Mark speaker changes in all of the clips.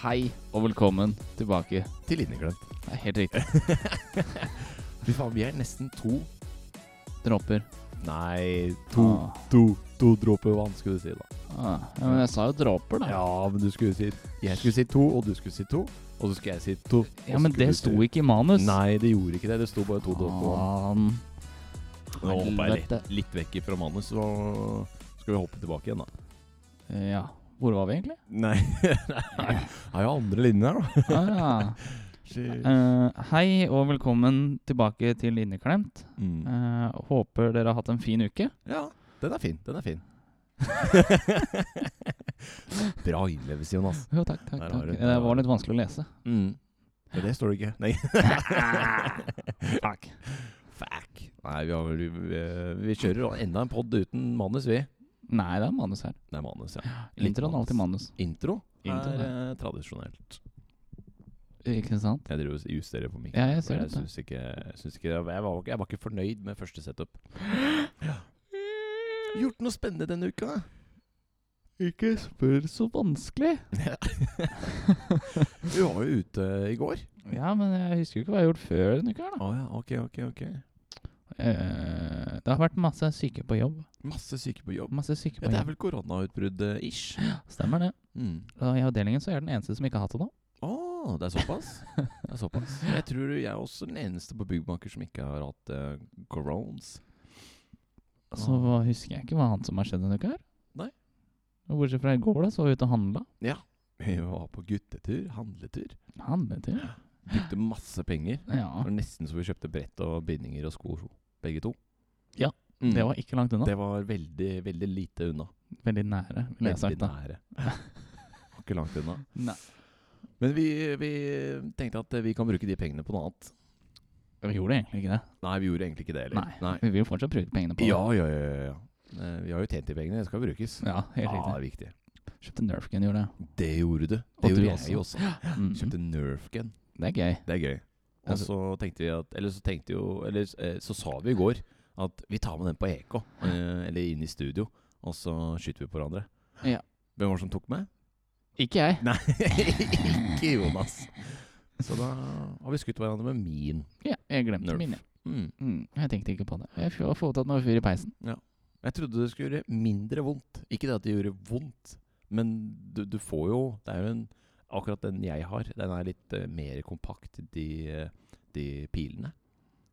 Speaker 1: Hei og velkommen tilbake.
Speaker 2: Til inneglemt.
Speaker 1: Det er helt riktig.
Speaker 2: Fy faen, vi er nesten to.
Speaker 1: Dråper.
Speaker 2: Nei,
Speaker 1: Ah.
Speaker 2: to, to dråper vann, skulle du si da.
Speaker 1: Ah, ja, men jeg sa jo dråper, da.
Speaker 2: Ja, men du skulle si Jeg skulle si to, og du skulle si to, og så skulle jeg si to.
Speaker 1: Ja, Men det sto ikke i manus.
Speaker 2: Nei, det gjorde ikke det. Det sto bare to dråper vann.
Speaker 1: Faen.
Speaker 2: Nå hoppa jeg litt,
Speaker 1: Ah, Helvete.
Speaker 2: litt vekk fra manus, så skal vi hoppe tilbake igjen, da.
Speaker 1: Ja. Hvor var vi egentlig?
Speaker 2: Nei Har jo andre linjen her, da.
Speaker 1: Ah, ja. Eh, hei og velkommen tilbake til Inneklemt.
Speaker 2: Mm.
Speaker 1: Eh, håper dere har hatt en fin uke.
Speaker 2: Ja, den er fin. Den er fin. Bra innlevelse, Jonas.
Speaker 1: Jo, takk, takk,
Speaker 2: Der har
Speaker 1: takk.
Speaker 2: du-
Speaker 1: Det var litt vanskelig å lese.
Speaker 2: Mm. Men det står det ikke. Nei.
Speaker 1: Takk.
Speaker 2: Fuck. Nei, vi, har, vel- vi, vi kjører enda en pod uten manus, vi.
Speaker 1: Nei, det er manus her.
Speaker 2: Det er manus, ja. Litt
Speaker 1: Introen er alltid manus.
Speaker 2: Intro
Speaker 1: Intro,
Speaker 2: er
Speaker 1: ja.
Speaker 2: eh, tradisjonelt.
Speaker 1: Ikke sant?
Speaker 2: Jeg driver og justerer på mikken.
Speaker 1: Ja, jeg ser
Speaker 2: jeg
Speaker 1: det.
Speaker 2: syns ikke, jeg, syns ikke jeg, var, jeg var ikke fornøyd med første setup. Gjort noe spennende denne uka?
Speaker 1: Ikke spør så vanskelig.
Speaker 2: Vi var jo ute i går.
Speaker 1: Ja, men jeg husker jo ikke hva jeg har gjort før denne uka. her,
Speaker 2: Å ja, ok, ok, ok.
Speaker 1: da. Eh, det har vært masse syke på jobb.
Speaker 2: Masse syke på jobb.
Speaker 1: Masse syke på
Speaker 2: Ja, det er
Speaker 1: jobb.
Speaker 2: vel koronautbrudd-ish.
Speaker 1: Stemmer det.
Speaker 2: Mm.
Speaker 1: Og I avdelingen så er jeg den eneste som ikke har hatt det nå.
Speaker 2: Å, det er såpass? Det er såpass. Jeg tror jeg er også den eneste på Byggmaker som ikke har hatt eh, corones.
Speaker 1: Så Altså, hva- husker jeg ikke hva annet som har skjedd denne uka her.
Speaker 2: Ah. Nei.
Speaker 1: Og Bortsett fra i går, da, så var vi ute og handla.
Speaker 2: Vi var på guttetur, handletur.
Speaker 1: Handletur?
Speaker 2: Brukte masse penger. Det
Speaker 1: Ja.
Speaker 2: var nesten så vi kjøpte brett og bindinger og sko, begge to.
Speaker 1: Ja,
Speaker 2: Mm.
Speaker 1: Det var ikke langt unna.
Speaker 2: Det var veldig, veldig lite unna.
Speaker 1: Veldig nære, ville jeg
Speaker 2: Veldig
Speaker 1: sagt. da.
Speaker 2: nære. Var ikke langt unna.
Speaker 1: Nei.
Speaker 2: Men vi, vi tenkte at vi kan bruke de pengene på noe annet.
Speaker 1: Vi gjorde egentlig ikke det.
Speaker 2: Nei, vi gjorde egentlig ikke det heller.
Speaker 1: Nei. Vi vil jo fortsatt bruke pengene på det.
Speaker 2: Ja, ja, ja, ja, ja. Eh, Vi har jo tjent de pengene, det skal brukes.
Speaker 1: Ja, helt
Speaker 2: Ja,
Speaker 1: riktig.
Speaker 2: det er viktig.
Speaker 1: Kjøpte Nerf Gun, gjorde jeg.
Speaker 2: Det gjorde du.
Speaker 1: Og du
Speaker 2: Det gjorde
Speaker 1: også.
Speaker 2: jeg også. også.
Speaker 1: Mm.
Speaker 2: Kjøpte Nerf gun.
Speaker 1: Det er gøy.
Speaker 2: Det er gøy. Og så tenkte vi at Eller så tenkte jo Eller eh, så sa vi i går at vi tar med den på EK, eh, eller inn i studio, og så skyter vi på hverandre.
Speaker 1: Ja.
Speaker 2: Hvem var det som tok med?
Speaker 1: Ikke jeg.
Speaker 2: Nei, ikke Jonas. Så da har vi skutt hverandre med min.
Speaker 1: Ja, jeg glemte
Speaker 2: Nerf.
Speaker 1: min. jeg.
Speaker 2: Mm.
Speaker 1: Mm, jeg tenkte ikke på det. Jeg har voldtatt meg en fyr i peisen.
Speaker 2: Jeg trodde det skulle gjøre mindre vondt. Ikke det at det gjorde vondt, men du, du får jo Det er jo en Akkurat den jeg har, den er litt eh, mer kompakt, de, eh, de pilene.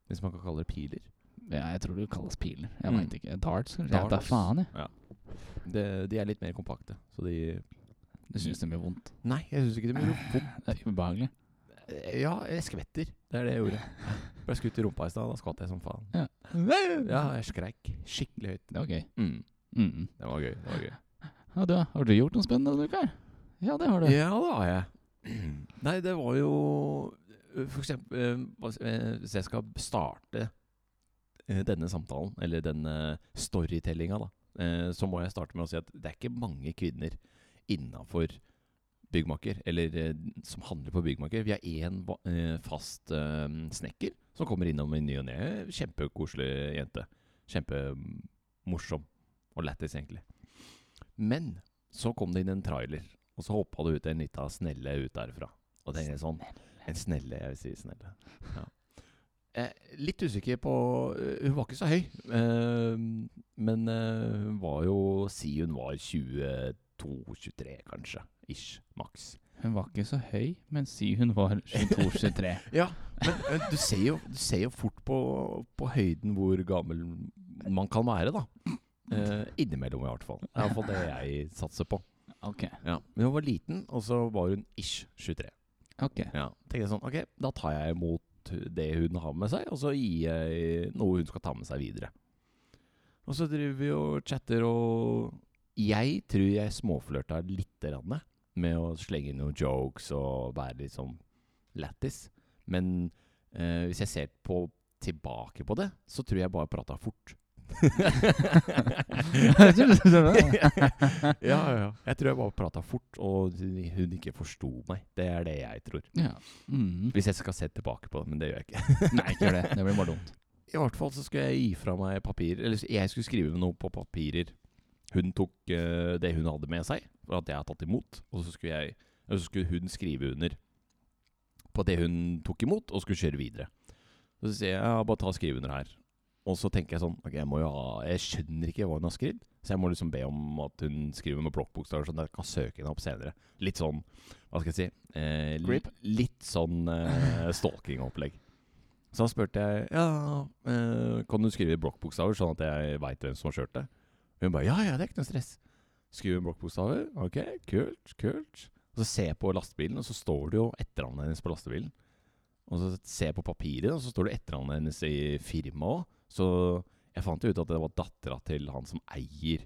Speaker 2: Hvis man kan kalle det piler.
Speaker 1: Ja, jeg tror det kalles piler. Jeg
Speaker 2: Mm.
Speaker 1: vet ikke. Darts? kanskje? Jeg vet da
Speaker 2: Dardos.
Speaker 1: faen, jeg.
Speaker 2: Det, de er litt mer kompakte. Så de
Speaker 1: Du syns det blir vondt.
Speaker 2: Nei, jeg syns ikke de gjorde vondt.
Speaker 1: Det er ubehagelig.
Speaker 2: Eh, Ja, jeg skvetter. Det er det jeg gjorde. Ble skutt i rumpa i stad, da skvatt jeg som faen.
Speaker 1: Ja.
Speaker 2: Ja, jeg skreik skikkelig høyt.
Speaker 1: Det var gøy.
Speaker 2: Mm.
Speaker 1: Mm.
Speaker 2: Det var gøy. det var gøy
Speaker 1: Ja, du, har du gjort noe spennende denne uka? her? Ja, det har du.
Speaker 2: Ja, det har jeg. Nei, det var jo For eksempel eh, hva s- eh, Hvis jeg skal starte eh, denne samtalen, eller denne storytellinga, da, eh, så må jeg starte med å si at det er ikke mange kvinner innafor byggmaker, eller eh, som handler på byggmaker. Vi er én va- eh, fast eh, snekker som kommer innom i ny og ne. Kjempekoselig jente. Kjempemorsom. Og lættis, egentlig. Men så kom det inn en trailer, og så hoppa det ut en lita snelle ut derfra. Og tenkte jeg sånn En snelle, jeg vil si snelle. Ja. Eh, litt usikker på eh, Hun var ikke så høy, eh, men eh, hun var jo Si hun var 22-23, kanskje. Ish. Maks.
Speaker 1: Hun var ikke så høy, men si hun var 22-23.
Speaker 2: Ja, men eh, du ser jo, du ser jo fort på, på høyden hvor gammel man kan være, da. Eh, innimellom, i hvert fall. Det er i hvert fall det jeg satser på.
Speaker 1: Ok.
Speaker 2: Ja. Men hun var liten, og så var hun ish 23.
Speaker 1: ok.
Speaker 2: Ja. Tenkte jeg sånn, ok, da tar jeg imot det hun har med seg, og så gir jeg noe hun skal ta med seg videre. Og så driver vi og chatter, og jeg tror jeg småflørta litt grann, med å slenge inn noen jokes og være litt sånn lættis. Men eh, hvis jeg ser på, tilbake på det, så tror jeg bare prata fort. ja, ja. Jeg tror jeg bare prata fort, og hun ikke forsto meg. Det er det jeg tror.
Speaker 1: Ja. Mm.
Speaker 2: Hvis jeg skal se tilbake på det, men det gjør jeg ikke.
Speaker 1: Nei, ikke gjør det. Det blir bare dumt.
Speaker 2: I hvert fall så skulle jeg gi fra meg papirer Eller jeg skulle skrive noe på papirer. Hun tok eh, det hun hadde med seg, for at jeg har tatt imot. Og så skulle jeg Og så skulle hun skrive under på det hun tok imot, og skulle kjøre videre. Så sier jeg ja, bare ta og skriv under her. Og så tenker jeg sånn ok, Jeg, må jo ha, jeg skjønner ikke hva hun har skrevet, så jeg må liksom be om at hun skriver med blokkbokstaver, sånn at jeg kan søke henne opp senere. Litt sånn Hva skal jeg si eh, li-
Speaker 1: Creep?
Speaker 2: Litt sånn eh, stalking-opplegg. Så da spurte jeg ja, eh, kan du skrive i blokkbokstaver, sånn at jeg veit hvem som har kjørt det. Hun bare ja, ja, det er ikke noe stress. Skriver blokkbokstaver. Ok, kult, kult. Og så ser jeg på lastebilen, og så står det jo etternavnet hennes på lastebilen. Og så ser jeg på papiret, og så står det etternavnet hennes i firmaet òg. Så jeg fant jo ut at det var dattera til han som eier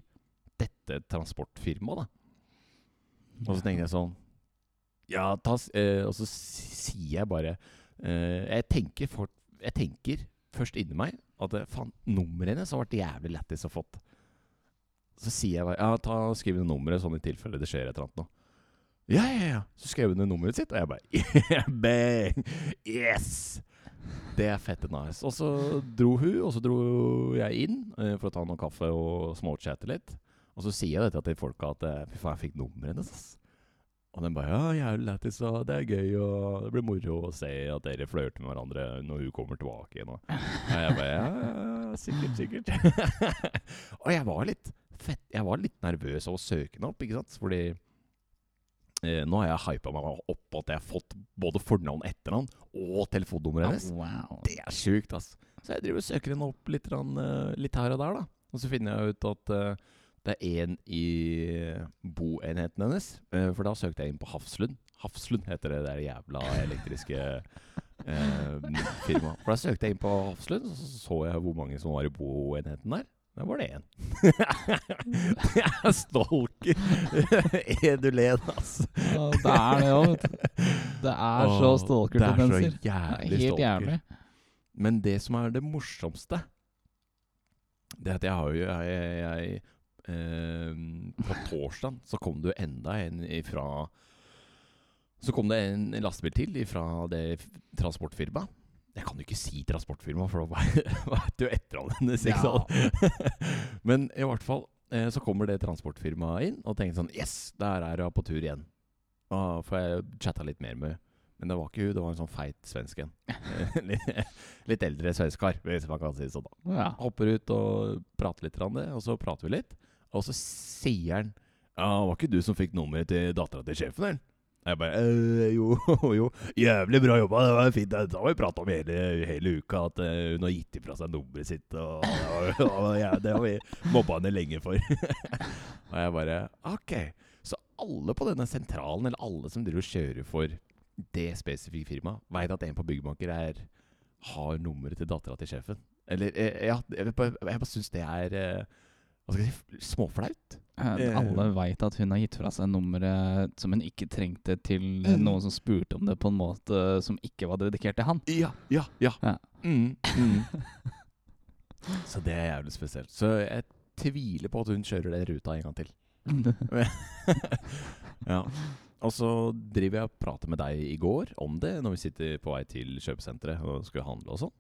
Speaker 2: dette transportfirmaet, da. Og så tenkte jeg sånn Ja, ta s- eh, Og så si- sier jeg bare eh, jeg, tenker for, jeg tenker først inni meg at eh, faen, nummeret hennes har vært jævlig lættis å fått. Så sier jeg bare Ja, ta skriv ned nummeret, sånn i tilfelle det skjer et eller annet nå. Ja, ja, ja. Så skrev hun ned nummeret sitt, og jeg bare yeah, Bang! Yes! Det er fette nice. Og så dro hun, og så dro jeg inn eh, for å ta noe kaffe og småchatte litt. Og så sier jeg dette til folka at eh, fy faen, jeg fikk nummeret hennes, ass. Og den bare ja, jævlig lættis, og det er gøy, og det blir moro å se at dere flørter med hverandre når hun kommer tilbake igjen. Og og jeg bare ja, ja, sikkert, sikkert. og jeg var litt fett, jeg var litt nervøs av å søke henne opp, ikke sant? Fordi eh, nå har jeg hypa meg opp at jeg har fått både fornavn, etternavn og telefonnummeret hennes.
Speaker 1: Au, wow.
Speaker 2: Det er sjukt, ass. Så jeg driver og søker henne opp litt, grann, eh, litt her og der, da. Og så finner jeg ut at eh, det er en i boenheten hennes. Eh, for da søkte jeg inn på Hafslund. Hafslund heter det der jævla elektriske eh, firmaet. For da søkte jeg inn på Hafslund, og så så jeg hvor mange som var i boenheten der. Der var det én. det er stalker! Edulén, ass.
Speaker 1: Ja, det er det òg, vet du. Det er så
Speaker 2: Åh,
Speaker 1: stalker-tendenser. Det er
Speaker 2: Det er så jævlig
Speaker 1: Helt
Speaker 2: stalker.
Speaker 1: jævlig.
Speaker 2: Men det som er det morsomste Det er at jeg har jo Jeg, jeg, jeg ehm, På torsdagen så kom det jo enda en ifra Så kom det en lastebil til Ifra det f- transportfirmaet Jeg kan jo ikke si transportfirma For da vet du jo etter han hennes ikke
Speaker 1: Ja.
Speaker 2: sant? Men i hvert fall eh, Så kommer det transportfirmaet inn Og tenker sånn Yes, der er jeg på tur igjen Og får jeg chatta litt mer med Men det var ikke hun Det var en sånn feit svensk en Litt- litt eldre svenskar, hvis man kan si det sånn. da.
Speaker 1: Ja.
Speaker 2: Hopper ut og prater litt, om det, og så prater vi litt. Og så sier han Ja, var ikke du som fikk nummeret til dattera til sjefen, eller? Jeg bare «Eh, Jo, jo. Jævlig bra jobba. Det var fint. Det har vi prata om hele, hele uka, at eh, hun har gitt ifra seg nummeret sitt. Og, det var- og, ja, det har vi mobba henne lenge for. og jeg bare OK. Så alle på denne sentralen, eller alle som driver og kjører for det spesifikke firmaet, veit at en på byggmaker er, har nummeret til dattera til sjefen. Eller eh, Ja, jeg bare, jeg bare syns det er eh, Hva skal jeg si f- Småflaut.
Speaker 1: Eh, Alle veit at hun har gitt fra seg nummeret som hun ikke trengte, til eh,
Speaker 2: Mm.
Speaker 1: noen som spurte om det på en måte som ikke var dedikert til han.
Speaker 2: Ja, ja, ja.
Speaker 1: Ja.
Speaker 2: Mm, mm. Så det er jævlig spesielt. Så jeg tviler på at hun kjører den ruta en gang til. Ja. Og så driver jeg og prater med deg i går om det, når vi sitter på vei til kjøpesenteret og skal handle og sånn.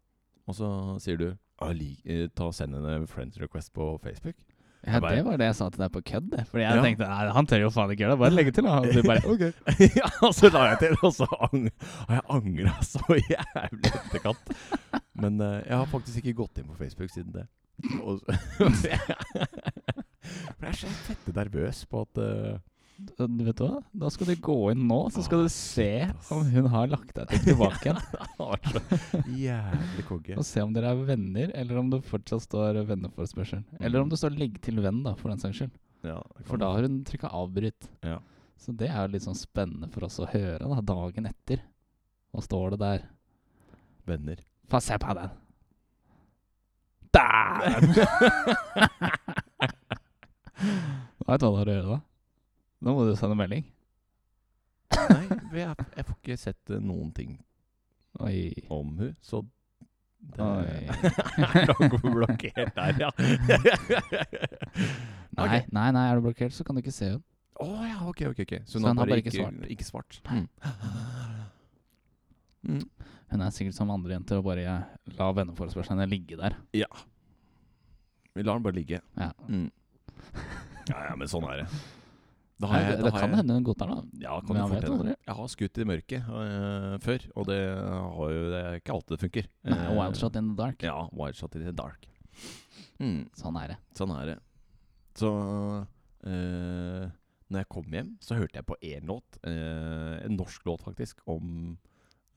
Speaker 2: Og så sier du «Ah, li- eh, ta og send henne friend request på Facebook.
Speaker 1: Ja,
Speaker 2: bare-
Speaker 1: det var det jeg sa til deg på kødd. det. Fordi jeg
Speaker 2: Ja.
Speaker 1: tenkte nei, han tør jo faen ikke gjøre det. Bare legge til, da. Og du bare OK.
Speaker 2: ja, og så la jeg til, og så ang har jeg angra så jævlig etterkant. Men eh, jeg har faktisk ikke gått inn på Facebook siden det. Og, for jeg er så fette nervøs på at eh,
Speaker 1: Du vet hva? Da skal du gå inn nå, så skal
Speaker 2: Åh,
Speaker 1: du se
Speaker 2: shit, ass.
Speaker 1: om hun har lagt deg til tilbake igjen.
Speaker 2: Han har vært så jævlig konge.
Speaker 1: Og se om dere er venner, eller om det fortsatt står venneforespørsel.
Speaker 2: Mm.
Speaker 1: Eller om det står 'legg til venn', da, for den saks skyld.
Speaker 2: Ja, det
Speaker 1: For
Speaker 2: kan-
Speaker 1: da har hun trykka 'avbryt'.
Speaker 2: Ja.
Speaker 1: Så det er jo litt sånn spennende for oss å høre da, dagen etter. Hva står det der?
Speaker 2: Venner.
Speaker 1: Få se på den! Dæven! Veit du hva du har å gjøre da? Nå må du sende melding.
Speaker 2: Nei, vi er, jeg får ikke sett eh, noen ting
Speaker 1: Oi.
Speaker 2: om hun, så det
Speaker 1: Oi.
Speaker 2: er nok blokkert der, ja.
Speaker 1: Nei, nei, nei, er du blokkert, så kan du ikke se henne.
Speaker 2: Å ja, Ah, ok, ok. ok
Speaker 1: Så han har bare ikke svart.
Speaker 2: Ikke svart.
Speaker 1: Nei.
Speaker 2: Mm. Mm.
Speaker 1: Hun er sikkert som andre jenter og bare eh, la venneforespørslene ligge der.
Speaker 2: Vi lar den bare ligge.
Speaker 1: Ja.
Speaker 2: Mm. Ja, ja, men sånn er det. Da har
Speaker 1: Nei,
Speaker 2: jeg- da
Speaker 1: det
Speaker 2: har
Speaker 1: kan
Speaker 2: jeg-
Speaker 1: hende hun godtar det. da.
Speaker 2: Ja,
Speaker 1: Men
Speaker 2: kan du
Speaker 1: jeg vet
Speaker 2: fortelle
Speaker 1: aldri.
Speaker 2: det? Jeg har skutt i mørket øh, før, og det, har jo, det er ikke alltid det funker.
Speaker 1: Nei,
Speaker 2: Eh,
Speaker 1: Wild shot in the dark.
Speaker 2: Ja, wildshot in the dark. Mm,
Speaker 1: Sånn er det.
Speaker 2: sånn er det. Så øh, når jeg kom hjem, så hørte jeg på én låt, øh, en norsk låt faktisk, om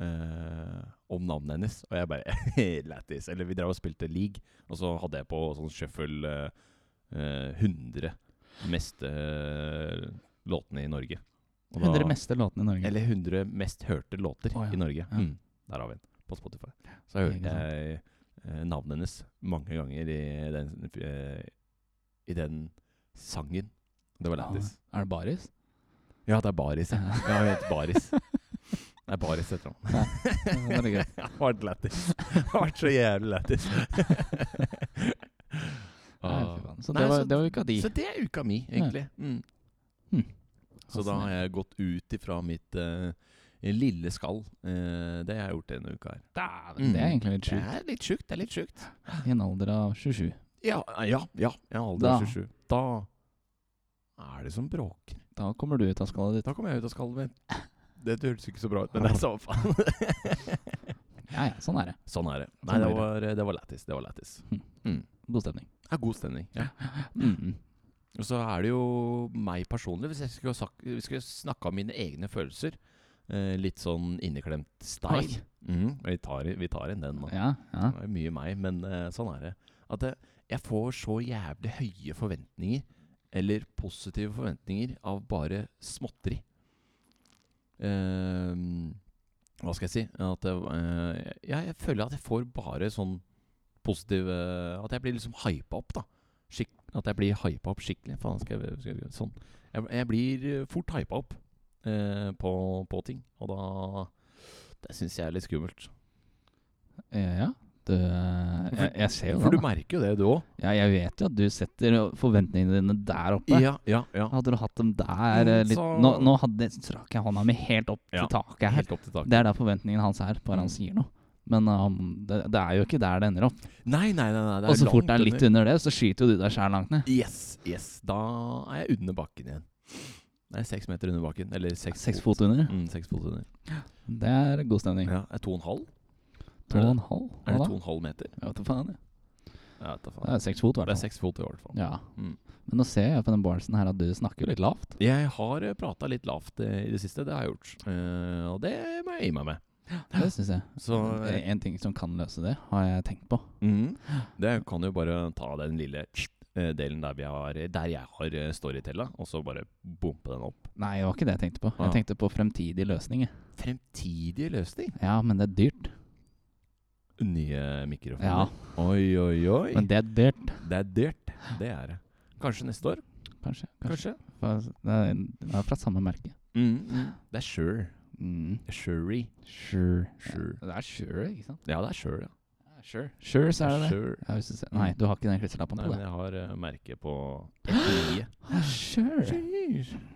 Speaker 2: øh, om navnet hennes. Og jeg bare Lættis. Eller vi drev og spilte league, og så hadde jeg på sånn shuffle øh, øh, 100 meste øh, låtene i Norge. Og da-
Speaker 1: 100 meste låtene i Norge.
Speaker 2: eller 100 mest hørte låter
Speaker 1: Mm. Å, ja.
Speaker 2: i Norge.
Speaker 1: Ja.
Speaker 2: Mm. Der har vi den, på Spotify. Så hørte
Speaker 1: Ikke sant.
Speaker 2: jeg eh, navnet hennes mange ganger i den, eh, i den sangen. Det var lættis.
Speaker 1: Ja, Er det baris?
Speaker 2: Ja, det er Baris. Ja,
Speaker 1: Ja.
Speaker 2: ja hun heter Baris. Det er Baris etter ham.
Speaker 1: Ja, det er gøy.
Speaker 2: Det har vært lættis. Det har vært så jævlig lættis.
Speaker 1: Nei, fy faen. Så
Speaker 2: Nei,
Speaker 1: det var,
Speaker 2: så-
Speaker 1: det var uka di.
Speaker 2: Så det er uka mi, egentlig. Mm.
Speaker 1: Hm.
Speaker 2: Så da har jeg gått ut ifra mitt eh, lille skall. Eh, det har jeg gjort denne uka her. Mm.
Speaker 1: Dæven, det er egentlig litt
Speaker 2: Det
Speaker 1: sjukt.
Speaker 2: er litt sjukt. Det er litt sjukt.
Speaker 1: I en alder av 27.
Speaker 2: Ja, ja. ja jeg er
Speaker 1: Da.
Speaker 2: alder 27. Da er det som bråker.
Speaker 1: Da kommer du ut av skallet ditt.
Speaker 2: Da kommer jeg ut av skallet mitt. Det høres ikke så bra ut, men det er samme faen.
Speaker 1: Ja, ja, sånn er det.
Speaker 2: sånn er det. Nei,
Speaker 1: Sånn
Speaker 2: det
Speaker 1: blir det.
Speaker 2: var, det var lættis. Det var lættis.
Speaker 1: God stemning.
Speaker 2: Det er god stemning. Ja.
Speaker 1: Mm -mm.
Speaker 2: Og så er det jo meg personlig. Hvis jeg skulle, ha sagt, hvis jeg skulle snakka om mine egne følelser, eh, litt sånn inneklemt stein
Speaker 1: Oi.
Speaker 2: Mhm, vi, tar, vi tar inn den nå.
Speaker 1: Ja, ja.
Speaker 2: Det er mye meg, men eh, sånn er det. At jeg, jeg får så jævlig høye forventninger, eller positive forventninger, av bare småtteri. Ehm, hva skal jeg si? At jeg, eh, jeg, jeg føler at jeg får bare sånn positive At jeg blir liksom hypa opp, da. Skikk, at jeg blir hypa opp skikkelig. Faen, skal jeg, skal jeg, sånn. jeg, jeg blir eh, fort hypa opp eh, på, på ting, og da Det syns jeg er litt skummelt.
Speaker 1: Eh, ja. Du, eh, jeg, jeg ser jo
Speaker 2: For
Speaker 1: det.
Speaker 2: du
Speaker 1: da.
Speaker 2: merker jo det, du òg.
Speaker 1: Ja, jeg vet jo at du setter forventningene dine der oppe.
Speaker 2: Ja, ja, ja.
Speaker 1: Hadde du hatt dem der eh,
Speaker 2: Mm,
Speaker 1: litt
Speaker 2: så-
Speaker 1: Nå, nå hadde, strakk jeg hånda mi helt opp
Speaker 2: Ja,
Speaker 1: til taket her.
Speaker 2: Helt Mm. opp til taket.
Speaker 1: Det er der forventningen hans er, bare han sier noe. Men um, det, det er jo ikke der det ender opp.
Speaker 2: Nei, nei, nei, nei det
Speaker 1: Og så
Speaker 2: langt
Speaker 1: fort det er litt
Speaker 2: under.
Speaker 1: under det, så skyter jo du deg sjæl langt ned.
Speaker 2: Yes, yes. Da er jeg under bakken igjen. Det er seks meter under bakken. Eller seks,
Speaker 1: Seks fot under.
Speaker 2: Mm, seks fot under.
Speaker 1: Det er god stemning.
Speaker 2: Mm. Ja, er to og en halv?
Speaker 1: To og en halv?
Speaker 2: Er
Speaker 1: Hva
Speaker 2: det
Speaker 1: da?
Speaker 2: to og en halv meter?
Speaker 1: Jeg vet da faen. jeg.
Speaker 2: Ja, vet
Speaker 1: Det
Speaker 2: da faen.
Speaker 1: er seks fot, i
Speaker 2: Det
Speaker 1: hvert
Speaker 2: er
Speaker 1: fall.
Speaker 2: seks fot i hvert fall.
Speaker 1: Ja.
Speaker 2: Mm.
Speaker 1: Men nå ser jeg på den barsen her at du snakker jo litt lavt.
Speaker 2: Jeg har prata litt lavt eh, i det siste, det har jeg gjort. Eh, og det må jeg gi meg med.
Speaker 1: Det syns jeg.
Speaker 2: Så
Speaker 1: Det er En ting som kan løse det, har jeg tenkt på.
Speaker 2: Mm. Det kan jo bare ta den lille eh, delen der, vi har, der jeg har eh, storytella, og så bare bompe den opp.
Speaker 1: Nei, det var ikke det jeg tenkte på.
Speaker 2: Ah.
Speaker 1: Jeg tenkte på fremtidige løsninger.
Speaker 2: Fremtidig løsning?
Speaker 1: Ja, men det er dyrt.
Speaker 2: Nye mikrofoner.
Speaker 1: Ja.
Speaker 2: Oi, oi, oi.
Speaker 1: Men det er dyrt,
Speaker 2: det er dyrt. Det er det. Kanskje neste år.
Speaker 1: kanskje. kanskje. For Det er- det er fra samme merke.
Speaker 2: Mm, mm. Det er sure.
Speaker 1: Mm.
Speaker 2: Surey.
Speaker 1: Sure.
Speaker 2: Sure.
Speaker 1: Ja, det er sure, ikke sant?
Speaker 2: Ja, det er sure, ja.
Speaker 1: Ja, Sure, sure så er det det.
Speaker 2: Sure.
Speaker 1: Ja, hvis du ser. Nei, du har ikke den klisterlappen
Speaker 2: Nei,
Speaker 1: på det.
Speaker 2: men jeg har eh, merke på etniet.
Speaker 1: Ah, Sure.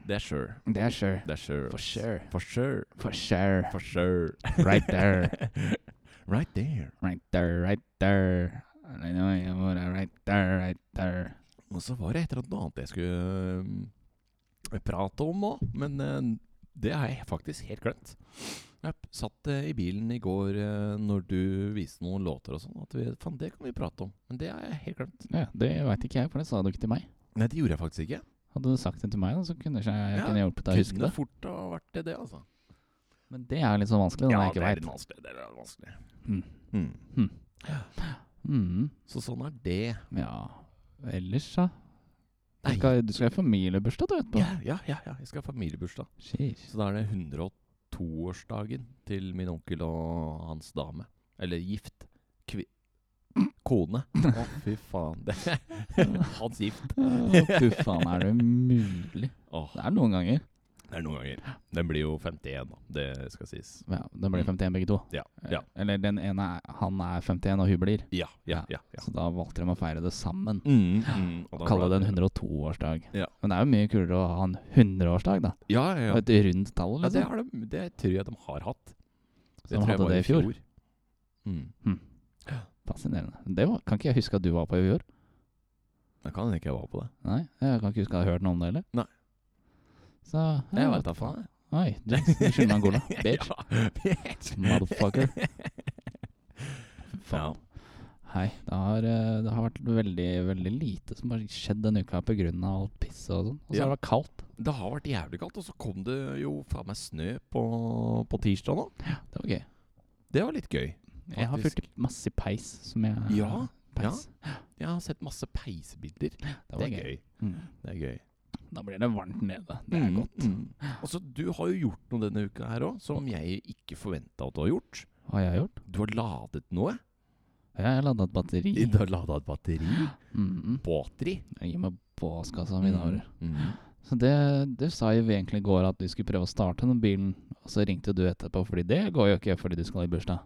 Speaker 2: Det er sure.
Speaker 1: Det er sure.
Speaker 2: Det er sure.
Speaker 1: For sure.
Speaker 2: For sure.
Speaker 1: For sure.
Speaker 2: For sure.
Speaker 1: Right there.
Speaker 2: Right there.
Speaker 1: Right there, right there. I know you were Right there, right there.
Speaker 2: Og så var det et eller annet annet jeg skulle eh, prate om òg, men eh, det har jeg faktisk helt glemt. Jeg p- satt eh, i bilen i går eh, når du viste noen låter og sånn, at vi, faen, det kan vi prate om. Men det har jeg helt glemt.
Speaker 1: Ja, det veit ikke jeg, for det sa du ikke til meg.
Speaker 2: Nei, det gjorde jeg faktisk ikke.
Speaker 1: Hadde du sagt det til meg, da, så kunne jeg, jeg
Speaker 2: Ja,
Speaker 1: kunne hjulpet deg å huske
Speaker 2: Kunne
Speaker 1: det.
Speaker 2: fort ha vært det, det, altså.
Speaker 1: Men det er jo litt sånn vanskelig når jeg
Speaker 2: det
Speaker 1: ikke
Speaker 2: er
Speaker 1: veit.
Speaker 2: litt vanskelig. Det er litt vanskelig.
Speaker 1: Mm.
Speaker 2: Mm.
Speaker 1: Mm.
Speaker 2: Så sånn er det.
Speaker 1: Ja, ellers, da? Du
Speaker 2: Nei.
Speaker 1: skal, du skal ha familiebursdag, du, etterpå.
Speaker 2: Ja, ja, ja, ja. Jeg skal ha familiebursdag.
Speaker 1: Sheesh.
Speaker 2: Så da er det 102-årsdagen til min onkel og hans dame. Eller gift. Kvi kone. Å, fy faen. Det hans gift.
Speaker 1: Å, Fy faen, er det mulig?
Speaker 2: Åh,
Speaker 1: Det er noen ganger.
Speaker 2: det er noen ganger. Den blir jo 51, da. Det skal sies.
Speaker 1: Ja, Da blir det 51 begge to.
Speaker 2: Mm.
Speaker 1: Eh,
Speaker 2: Ja. Ja.
Speaker 1: Eller den ene er, han er 51, og hun blir.
Speaker 2: Ja, ja, ja. ja.
Speaker 1: Så da valgte de å feire det sammen.
Speaker 2: Mm, mm, og da
Speaker 1: Kalle det
Speaker 2: ble
Speaker 1: en 102-årsdag.
Speaker 2: Ja.
Speaker 1: Men det er jo mye kulere å ha en 100-årsdag, da.
Speaker 2: Ja, ja, ja.
Speaker 1: Et rundt tall,
Speaker 2: ja det,
Speaker 1: liksom.
Speaker 2: har de, det tror jeg de har hatt.
Speaker 1: Så de
Speaker 2: tror jeg
Speaker 1: hadde
Speaker 2: var
Speaker 1: det i fjor.
Speaker 2: Mm.
Speaker 1: Fascinerende. Det var, kan ikke jeg huske at du var på i år.
Speaker 2: Jeg kan hende ikke jeg var på det.
Speaker 1: Nei, jeg kan ikke huske at jeg har hørt noe om det heller.
Speaker 2: Nei.
Speaker 1: Så hey,
Speaker 2: Jeg
Speaker 1: what
Speaker 2: veit da
Speaker 1: the fuck?
Speaker 2: faen. jeg.
Speaker 1: Oi, Jax, du skylder meg en cola. Bitch.
Speaker 2: Ja, bitch.
Speaker 1: Motherfucker.
Speaker 2: Ja.
Speaker 1: Faen. Hei. Det har, eh, det har vært veldig veldig lite som har skjedd denne uka pga. alt pisset og sånn. Og så
Speaker 2: Ja.
Speaker 1: har det vært kaldt.
Speaker 2: Det har vært jævlig kaldt, og så kom det jo faen meg snø på, på tirsdag nå.
Speaker 1: Det var gøy.
Speaker 2: Det var litt gøy.
Speaker 1: Jeg har
Speaker 2: Faktisk.
Speaker 1: fyrt i masse peis som jeg
Speaker 2: Ja,
Speaker 1: peis.
Speaker 2: Jeg har sett masse peisbilder. Det,
Speaker 1: Det var
Speaker 2: er
Speaker 1: gøy.
Speaker 2: gøy.
Speaker 1: Mm.
Speaker 2: Det er gøy.
Speaker 1: Da blir det varmt nede. Det er
Speaker 2: Mm,
Speaker 1: godt.
Speaker 2: mm. Altså, du har jo gjort noe denne uka her òg, som jeg ikke forventa at du har gjort.
Speaker 1: Har jeg gjort?
Speaker 2: Du har ladet noe.
Speaker 1: Ja, jeg lada et batteri.
Speaker 2: Du har lada et batteri.
Speaker 1: Mm, mm.
Speaker 2: Batteri.
Speaker 1: Gi meg båskassa mi, da. bror.
Speaker 2: Mm.
Speaker 1: Så det, du sa jo egentlig i går at du skulle prøve å starte den bilen, og så ringte du etterpå, fordi det går jo ikke fordi du skal i bursdag.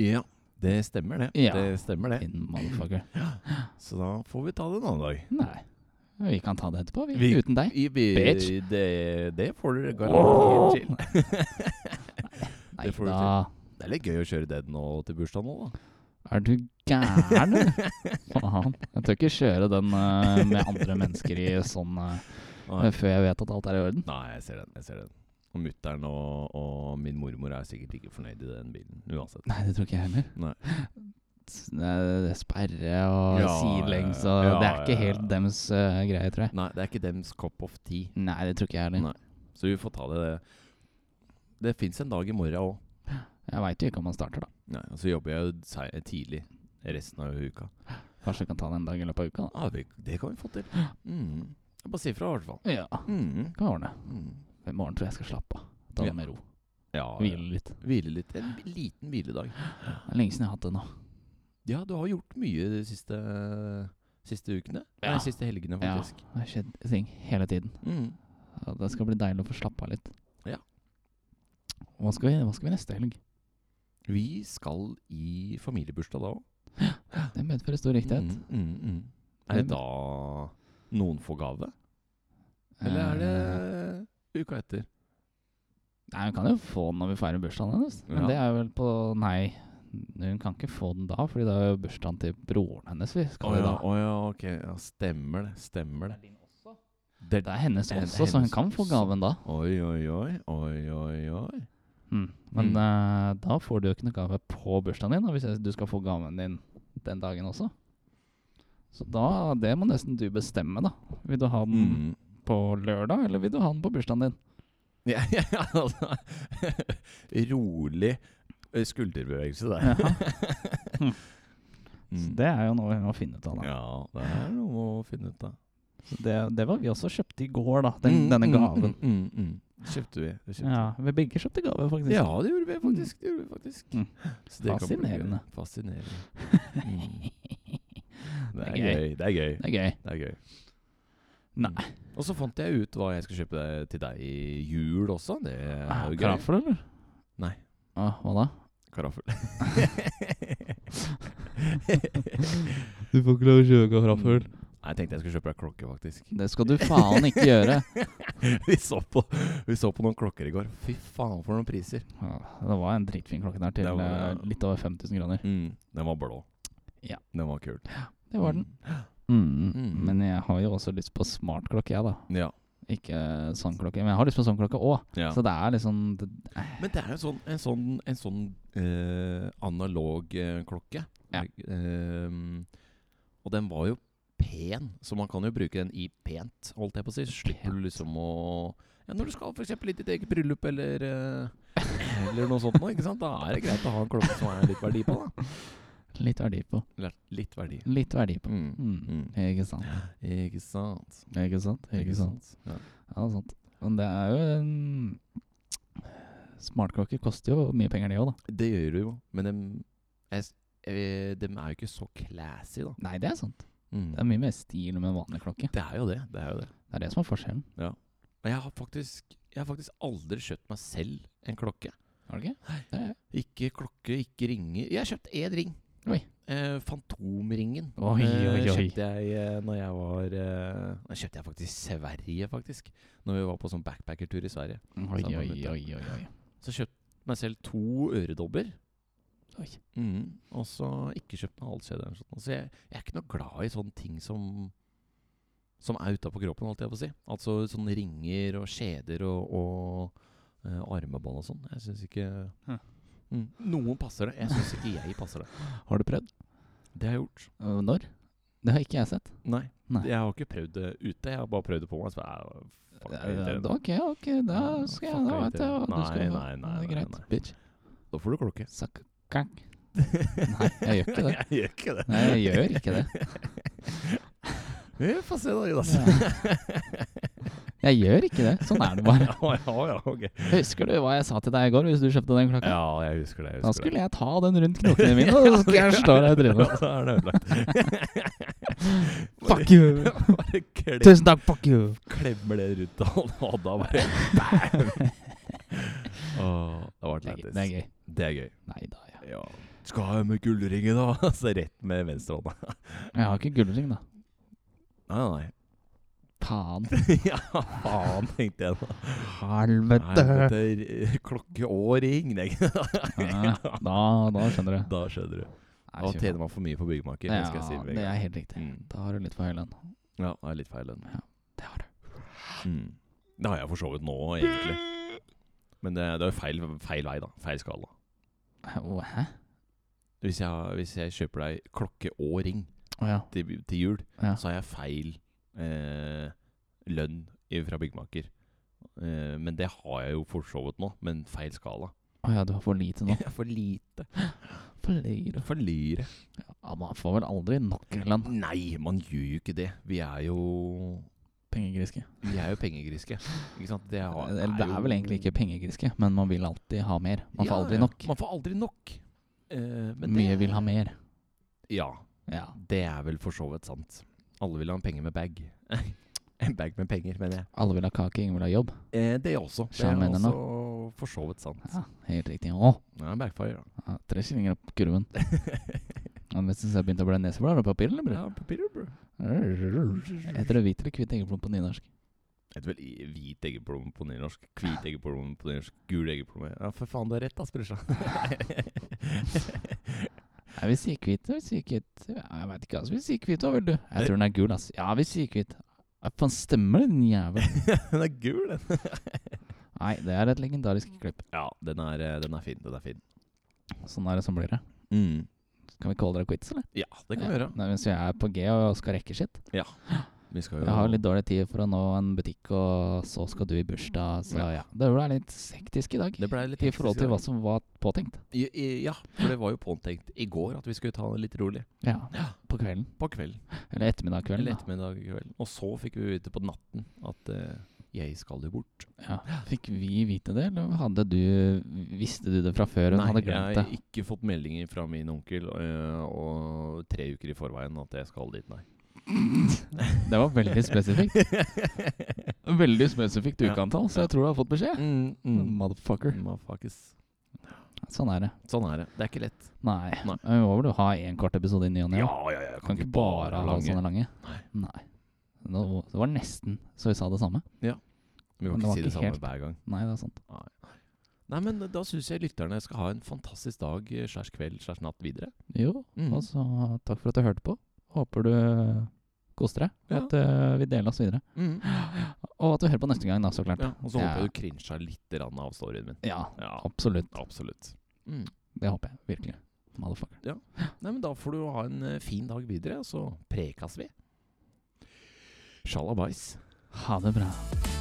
Speaker 2: Ja, det stemmer det.
Speaker 1: Ja.
Speaker 2: Det stemmer det.
Speaker 1: Din motherfucker.
Speaker 2: Så da får vi ta det en annen dag.
Speaker 1: Nei. Vi kan ta det etterpå, vi.
Speaker 2: Vi-
Speaker 1: Uten deg.
Speaker 2: I, vi,
Speaker 1: Bitch.
Speaker 2: Det, det får dere
Speaker 1: Åh!
Speaker 2: garantert til.
Speaker 1: Nei
Speaker 2: det får du
Speaker 1: da.
Speaker 2: Det er litt gøy å kjøre den nå til bursdagen nå, da.
Speaker 1: Er du gæren, eller? Faen. Jeg tør ikke kjøre den eh, med andre mennesker i sånn eh,
Speaker 2: Nei,
Speaker 1: før jeg vet at alt er i orden.
Speaker 2: Nei jeg ser den. jeg ser den. Og mutter'n og, og min mormor er sikkert ikke fornøyd i den bilen uansett.
Speaker 1: Nei, det tror ikke jeg heller.
Speaker 2: Nei.
Speaker 1: S- eh, Det er sperre og
Speaker 2: Ja,
Speaker 1: sidelengs
Speaker 2: ja,
Speaker 1: og
Speaker 2: ja,
Speaker 1: Det er ikke
Speaker 2: ja, ja.
Speaker 1: helt dems eh, greie, tror jeg.
Speaker 2: Nei, det er ikke dems cup of tea.
Speaker 1: Nei, det tror ikke jeg heller.
Speaker 2: Nei. Så vi får ta det Det fins en dag i morgen òg.
Speaker 1: Jeg veit jo ikke om man starter, da.
Speaker 2: Og så jobber jeg jo sei- tidlig resten av uka.
Speaker 1: Kanskje vi kan ta det en dag i løpet av uka,
Speaker 2: Ja, vi, det kan vi få til. Mm. Jeg bare si ifra, i hvert fall.
Speaker 1: da. Ja,
Speaker 2: Mm.
Speaker 1: kan vi ordne.
Speaker 2: Mm.
Speaker 1: I morgen tror jeg jeg skal slappe av. Ta
Speaker 2: Ja.
Speaker 1: det med ro.
Speaker 2: Ja,
Speaker 1: Hvile litt.
Speaker 2: hvile litt. En liten hviledag.
Speaker 1: Det er lenge siden jeg har hatt det nå.
Speaker 2: Ja, du har gjort mye de siste, siste ukene.
Speaker 1: Ja.
Speaker 2: Nei, siste helgene,
Speaker 1: Ja.
Speaker 2: faktisk.
Speaker 1: Det har skjedd ting hele tiden.
Speaker 2: Mm.
Speaker 1: Ja, Det skal bli deilig å få slappe av litt.
Speaker 2: Ja.
Speaker 1: Hva skal vi, hva skal vi neste helg?
Speaker 2: Vi skal i familiebursdag da òg.
Speaker 1: Det medfører stor riktighet.
Speaker 2: Mm, mm, mm. Er det da noen får gave? Eller er
Speaker 1: Eh,
Speaker 2: det uka etter?
Speaker 1: Nei, Hun kan jo få den når vi feirer bursdagen hennes. Men
Speaker 2: Ja.
Speaker 1: det er vel på Nei, hun kan ikke få den da, Fordi det er jo bursdagen til broren hennes vi skal
Speaker 2: Å
Speaker 1: i
Speaker 2: ja,
Speaker 1: da.
Speaker 2: å ja, ok. Ja, stemmer det. Stemmer det.
Speaker 1: Det er hennes
Speaker 2: Det er
Speaker 1: også, så hun
Speaker 2: hennes
Speaker 1: kan få
Speaker 2: også.
Speaker 1: gaven da.
Speaker 2: Oi, oi, oi. Oi, oi, oi.
Speaker 1: Mm. Men eh, da får du jo ikke noe gave på bursdagen din, og hvis jeg- du skal få gaven din den dagen også. Så da, det må nesten du bestemme, da. Vil du ha den
Speaker 2: Mm.
Speaker 1: på lørdag, eller vil du ha den på bursdagen din?
Speaker 2: Ja, ja, altså Rolig eh, skulderbevegelse der.
Speaker 1: Så
Speaker 2: Mm.
Speaker 1: det er jo noe vi må finne ut av, da.
Speaker 2: Ja, det er noe å finne ut av.
Speaker 1: Så det, det var vi også kjøpte i går, da. Den,
Speaker 2: Mm,
Speaker 1: denne
Speaker 2: mm,
Speaker 1: gaven.
Speaker 2: Mm, mm, mm. Kjøpte vi. Det kjøpte.
Speaker 1: Ja, vi begge kjøpte gave,
Speaker 2: vi.
Speaker 1: faktisk.
Speaker 2: ja, det gjorde vi faktisk. Det gjorde vi faktisk.
Speaker 1: Mm.
Speaker 2: Så det kan bli gøy.
Speaker 1: Fascinerende.
Speaker 2: Fascinerende. Mm. Det er
Speaker 1: Det er
Speaker 2: gøy. Det er gøy.
Speaker 1: Det er gøy.
Speaker 2: Det er gøy.
Speaker 1: Nei.
Speaker 2: Mm. Og så fant jeg ut hva jeg skal kjøpe deg- til deg i jul også. Det er jo gøy.
Speaker 1: Karaffel, eller?
Speaker 2: Nei.
Speaker 1: Ah, hva da?
Speaker 2: Karaffel.
Speaker 1: Du får ikke lov å kjøpe
Speaker 2: Mm. Nei, jeg tenkte jeg skulle kjøpe deg klokke, faktisk.
Speaker 1: Det skal du faen ikke gjøre.
Speaker 2: vi, så på, vi så på noen klokker i går. Fy faen, for noen priser.
Speaker 1: Ja, det var en dritfin klokke der til
Speaker 2: Det var
Speaker 1: eh,
Speaker 2: det,
Speaker 1: litt over 5000 kroner.
Speaker 2: Den var blå.
Speaker 1: Ja.
Speaker 2: Den Mm. var kul.
Speaker 1: Det var den. Mm. Men jeg har jo også lyst på smartklokke, jeg, da.
Speaker 2: Ja.
Speaker 1: Ikke sånn klokke, men jeg har lyst på sånn klokke òg.
Speaker 2: ja.
Speaker 1: Så det er liksom det,
Speaker 2: Men det er jo en sånn, en sånn, en sånn eh, analog eh, klokke.
Speaker 1: Ja.
Speaker 2: Ehm, og den var jo pen, så man kan jo bruke den i pent, holdt jeg på å si. Så Slipper du liksom å ja, Når du skal f.eks. i ditt eget bryllup eller eh, Eller noe sånt noe, ikke sant? Da er det greit å ha en klokke som er litt verdi på, da.
Speaker 1: Litt verdi på.
Speaker 2: Eller litt verdi.
Speaker 1: Litt verdi på.
Speaker 2: Mm.
Speaker 1: Mm. Ikke sant.
Speaker 2: Ikke sant.
Speaker 1: Ikke sant. Ikke sant.
Speaker 2: Ja.
Speaker 1: Ja, det er sant. Men det er jo en Smartklokker koster jo mye penger, de òg, da.
Speaker 2: Det gjør du jo, men dem jeg s- eh, dem er jo ikke så classy, da.
Speaker 1: Nei, det er sant.
Speaker 2: Mm.
Speaker 1: Det er mye mer stil med en vanlig klokke.
Speaker 2: Det er jo det. det, er jo det.
Speaker 1: Det er det som er forskjellen.
Speaker 2: Og jeg har faktisk Jeg har faktisk aldri kjøpt meg selv en klokke.
Speaker 1: Har du ikke? Det er jeg.
Speaker 2: Ikke klokke, ikke ringer. Jeg har kjøpt én ring.
Speaker 1: Oi.
Speaker 2: Eh, Fantomringen.
Speaker 1: Oi, oi, oi.
Speaker 2: kjøpte jeg eh, når jeg var eh, Den kjøpte jeg faktisk i Sverige, faktisk. Når vi var på sånn backpackertur i Sverige.
Speaker 1: Oi,
Speaker 2: Samme
Speaker 1: oi,
Speaker 2: mynt, ja.
Speaker 1: oi, oi, oi.
Speaker 2: Så kjøpte jeg meg selv to øredobber.
Speaker 1: Oi.
Speaker 2: Mm. Altså, Og så ikke kjøpt meg halskjede. eller noe sånt. Så jeg, jeg er ikke noe glad i sånne ting som som er utapå kroppen, holdt jeg på å si. Altså sånne ringer og skjeder og, og eh, armebånd og sånn. Jeg syns ikke
Speaker 1: Hm.
Speaker 2: mm. Noen passer det. Jeg syns ikke jeg passer det.
Speaker 1: Har du prøvd?
Speaker 2: Det har jeg gjort.
Speaker 1: Øh, Når? Det har ikke jeg sett.
Speaker 2: Nei.
Speaker 1: Nei.
Speaker 2: Jeg har ikke prøvd det ute. Jeg har bare prøvd det på meg. Så jeg, fuck, det er
Speaker 1: Eh,
Speaker 2: irriterende.
Speaker 1: OK, ok, da
Speaker 2: Ja,
Speaker 1: skal jeg
Speaker 2: fuck,
Speaker 1: da
Speaker 2: jeg
Speaker 1: vet jeg hva du
Speaker 2: irriterer.
Speaker 1: skal
Speaker 2: Nei,
Speaker 1: få.
Speaker 2: nei, nei,
Speaker 1: Det er
Speaker 2: nei,
Speaker 1: greit,
Speaker 2: nei.
Speaker 1: bitch.
Speaker 2: da får du klokke.
Speaker 1: Sakkakang. Nei, jeg gjør ikke det.
Speaker 2: jeg gjør ikke det.
Speaker 1: Nei, jeg gjør ikke det.
Speaker 2: Vi får se da, Ida.
Speaker 1: Jeg gjør ikke det. Sånn er det bare.
Speaker 2: ja, ja, ja, ok.
Speaker 1: Husker du hva jeg sa til deg i går hvis du kjøpte den klokka?
Speaker 2: Ja, jeg husker det. Jeg
Speaker 1: Da
Speaker 2: husker det.
Speaker 1: skulle jeg ta den rundt knokene mine, og så skal jeg slå deg i trynet.
Speaker 2: Ja, Da er det ødelagt.
Speaker 1: Fuck you!
Speaker 2: Bare klem,
Speaker 1: Tusen takk, fuck you!
Speaker 2: klemmer det rundt han, og da bare bam! Åh, det var
Speaker 1: Det er gøy.
Speaker 2: lættis.
Speaker 1: Det er gøy.
Speaker 2: Det er gøy.
Speaker 1: Nei da, ja.
Speaker 2: Ja. Skal jeg med gullringen, da? Så rett med venstrehånda.
Speaker 1: Jeg har ikke gullring, da.
Speaker 2: Nei, nei.
Speaker 1: Faen.
Speaker 2: ja, faen, tenkte jeg da.
Speaker 1: Helvete!
Speaker 2: Helvete, r- klokke og ring. nei.
Speaker 1: Ja, da, da skjønner du.
Speaker 2: Da skjønner du.
Speaker 1: Nei, fy
Speaker 2: Da
Speaker 1: faen.
Speaker 2: tjener man for mye på byggmaker. det skal jeg si
Speaker 1: Ja,
Speaker 2: med en
Speaker 1: det er
Speaker 2: gang.
Speaker 1: helt riktig.
Speaker 2: Mm.
Speaker 1: Da har du litt for høy lønn.
Speaker 2: Ja, det er litt feil den.
Speaker 1: Det har du.
Speaker 2: Mm. Det har jeg for så vidt nå, egentlig. Men det, det er jo feil, feil vei, da. Feil skala.
Speaker 1: Å, Hæ?
Speaker 2: Hvis jeg, hvis jeg kjøper deg klokke og ring
Speaker 1: Å ja.
Speaker 2: til, til jul,
Speaker 1: ja.
Speaker 2: så har jeg feil eh, lønn i- fra byggmaker. Eh, men det har jeg jo for så vidt nå, men feil skala.
Speaker 1: Å ja, du har for lite nå.
Speaker 2: Jeg er for lite.
Speaker 1: For lite.
Speaker 2: For lyre.
Speaker 1: Ja, man får vel aldri nok lønn.
Speaker 2: Nei, man gjør jo ikke det. Vi er jo
Speaker 1: Pengegriske.
Speaker 2: Vi er jo pengegriske. Ikke sant? Det, har,
Speaker 1: Eller det
Speaker 2: jo-
Speaker 1: er vel egentlig ikke pengegriske, men man vil alltid ha mer. Man får
Speaker 2: Ja,
Speaker 1: aldri
Speaker 2: ja.
Speaker 1: nok.
Speaker 2: Man får aldri nok. Eh, men
Speaker 1: Mye
Speaker 2: det-
Speaker 1: vil ha mer.
Speaker 2: Ja,
Speaker 1: Ja.
Speaker 2: det er vel for så vidt sant. Alle vil ha en penge med bag. en bag med penger, mener jeg.
Speaker 1: Alle vil ha kake, ingen vil ha jobb.
Speaker 2: Eh, det også. Det er
Speaker 1: Skjønner jeg nå.
Speaker 2: også for så vidt sant.
Speaker 1: Ja, helt riktig. Å,
Speaker 2: Det er en bagfire, da.
Speaker 1: ja, tre skillinger opp kurven. Ja, Men hvis jeg begynte å bli neseblar, har du papir, eller, bror?
Speaker 2: Ja, papirer, bro.
Speaker 1: Heter det hvit eller kvitt eggeplom på nynorsk?
Speaker 2: Et vel i- hvit eggeplomme på nynorsk, hvit eggeplomme på nynorsk, gul eggeplomme Ja, for faen, du har rett, ass, brorsan.
Speaker 1: Nei, vi sier kvitt, vi sier kvitt. Ja, jeg veit ikke, altså. Vi sier kvitt, hva vil du? Jeg tror den er gul, ass. Ja, vi sier kvitt. Ja, Faen, stemmer det, din jævel?
Speaker 2: den er gul, den.
Speaker 1: Nei, det er et legendarisk klipp.
Speaker 2: Ja, den er, eh, den er fin. Den er fin.
Speaker 1: Sånn er det som blir det.
Speaker 2: Mm.
Speaker 1: Kan vi kalle det quits, eller?
Speaker 2: Ja, det kan vi gjøre.
Speaker 1: Nei, mens vi er på G og skal rekke sitt.
Speaker 2: Vi skal jo
Speaker 1: Jeg har litt dårlig tid for å nå en butikk, og så skal du i bursdag, så ja. Det ble litt hektisk i dag.
Speaker 2: Det ble litt
Speaker 1: I forhold
Speaker 2: hektisk i
Speaker 1: til
Speaker 2: dag.
Speaker 1: hva som var påtenkt.
Speaker 2: I- i- Ja, for det var jo påtenkt i går at vi skulle ta det litt rolig.
Speaker 1: Ja. På kvelden.
Speaker 2: På kvelden.
Speaker 1: Eller ettermiddag kvelden.
Speaker 2: Eller
Speaker 1: da.
Speaker 2: ettermiddag i kvelden. Og så fikk vi vite på natten at eh, jeg skal jo bort.
Speaker 1: Ja. Fikk vi vite det, eller hadde du, visste du det fra før? Hun
Speaker 2: Nei,
Speaker 1: hadde
Speaker 2: jeg
Speaker 1: glemt
Speaker 2: har
Speaker 1: det.
Speaker 2: ikke fått meldinger fra min onkel eh, og tre uker i forveien at jeg skal dit, nei.
Speaker 1: Det var veldig spesifikt. Veldig spesifikt
Speaker 2: Ja.
Speaker 1: ukantall, så jeg tror du har fått beskjed.
Speaker 2: Mm, mm.
Speaker 1: Motherfucker.
Speaker 2: Motherfuckers.
Speaker 1: Sånn er det.
Speaker 2: Sånn er det. Det er ikke lett.
Speaker 1: Nei.
Speaker 2: Nei.
Speaker 1: Men Vi må vel ha én kort episode i ny og ne? da.
Speaker 2: ja, ja.
Speaker 1: Sånn, Kan ikke bare ha
Speaker 2: lange.
Speaker 1: sånne lange. Nei. Nå, det var nesten så vi sa det samme.
Speaker 2: Vi
Speaker 1: Men
Speaker 2: kan
Speaker 1: det var
Speaker 2: ikke si det
Speaker 1: ikke
Speaker 2: samme
Speaker 1: helt.
Speaker 2: hver gang.
Speaker 1: Nei, det er sant.
Speaker 2: Nei, men eh, da syns jeg lytterne skal ha en fantastisk dag eh, slash kveld slash natt videre.
Speaker 1: Jo,
Speaker 2: Mm.
Speaker 1: Og så takk for at du hørte på. Håper du koser deg, og
Speaker 2: Ja.
Speaker 1: at eh, vi deler oss videre.
Speaker 2: Mm.
Speaker 1: Og at du hører på neste gang, da, så klart.
Speaker 2: Ja, og så
Speaker 1: Ja.
Speaker 2: håper jeg du crincha litt grann av storyen min.
Speaker 1: Ja,
Speaker 2: Ja,
Speaker 1: absolutt.
Speaker 2: absolutt.
Speaker 1: Det håper jeg virkelig. Motherfucker.
Speaker 2: Mm. Nei, men da får du ha en eh, fin dag videre, så prekas vi. Sjalabais.
Speaker 1: Ha det bra.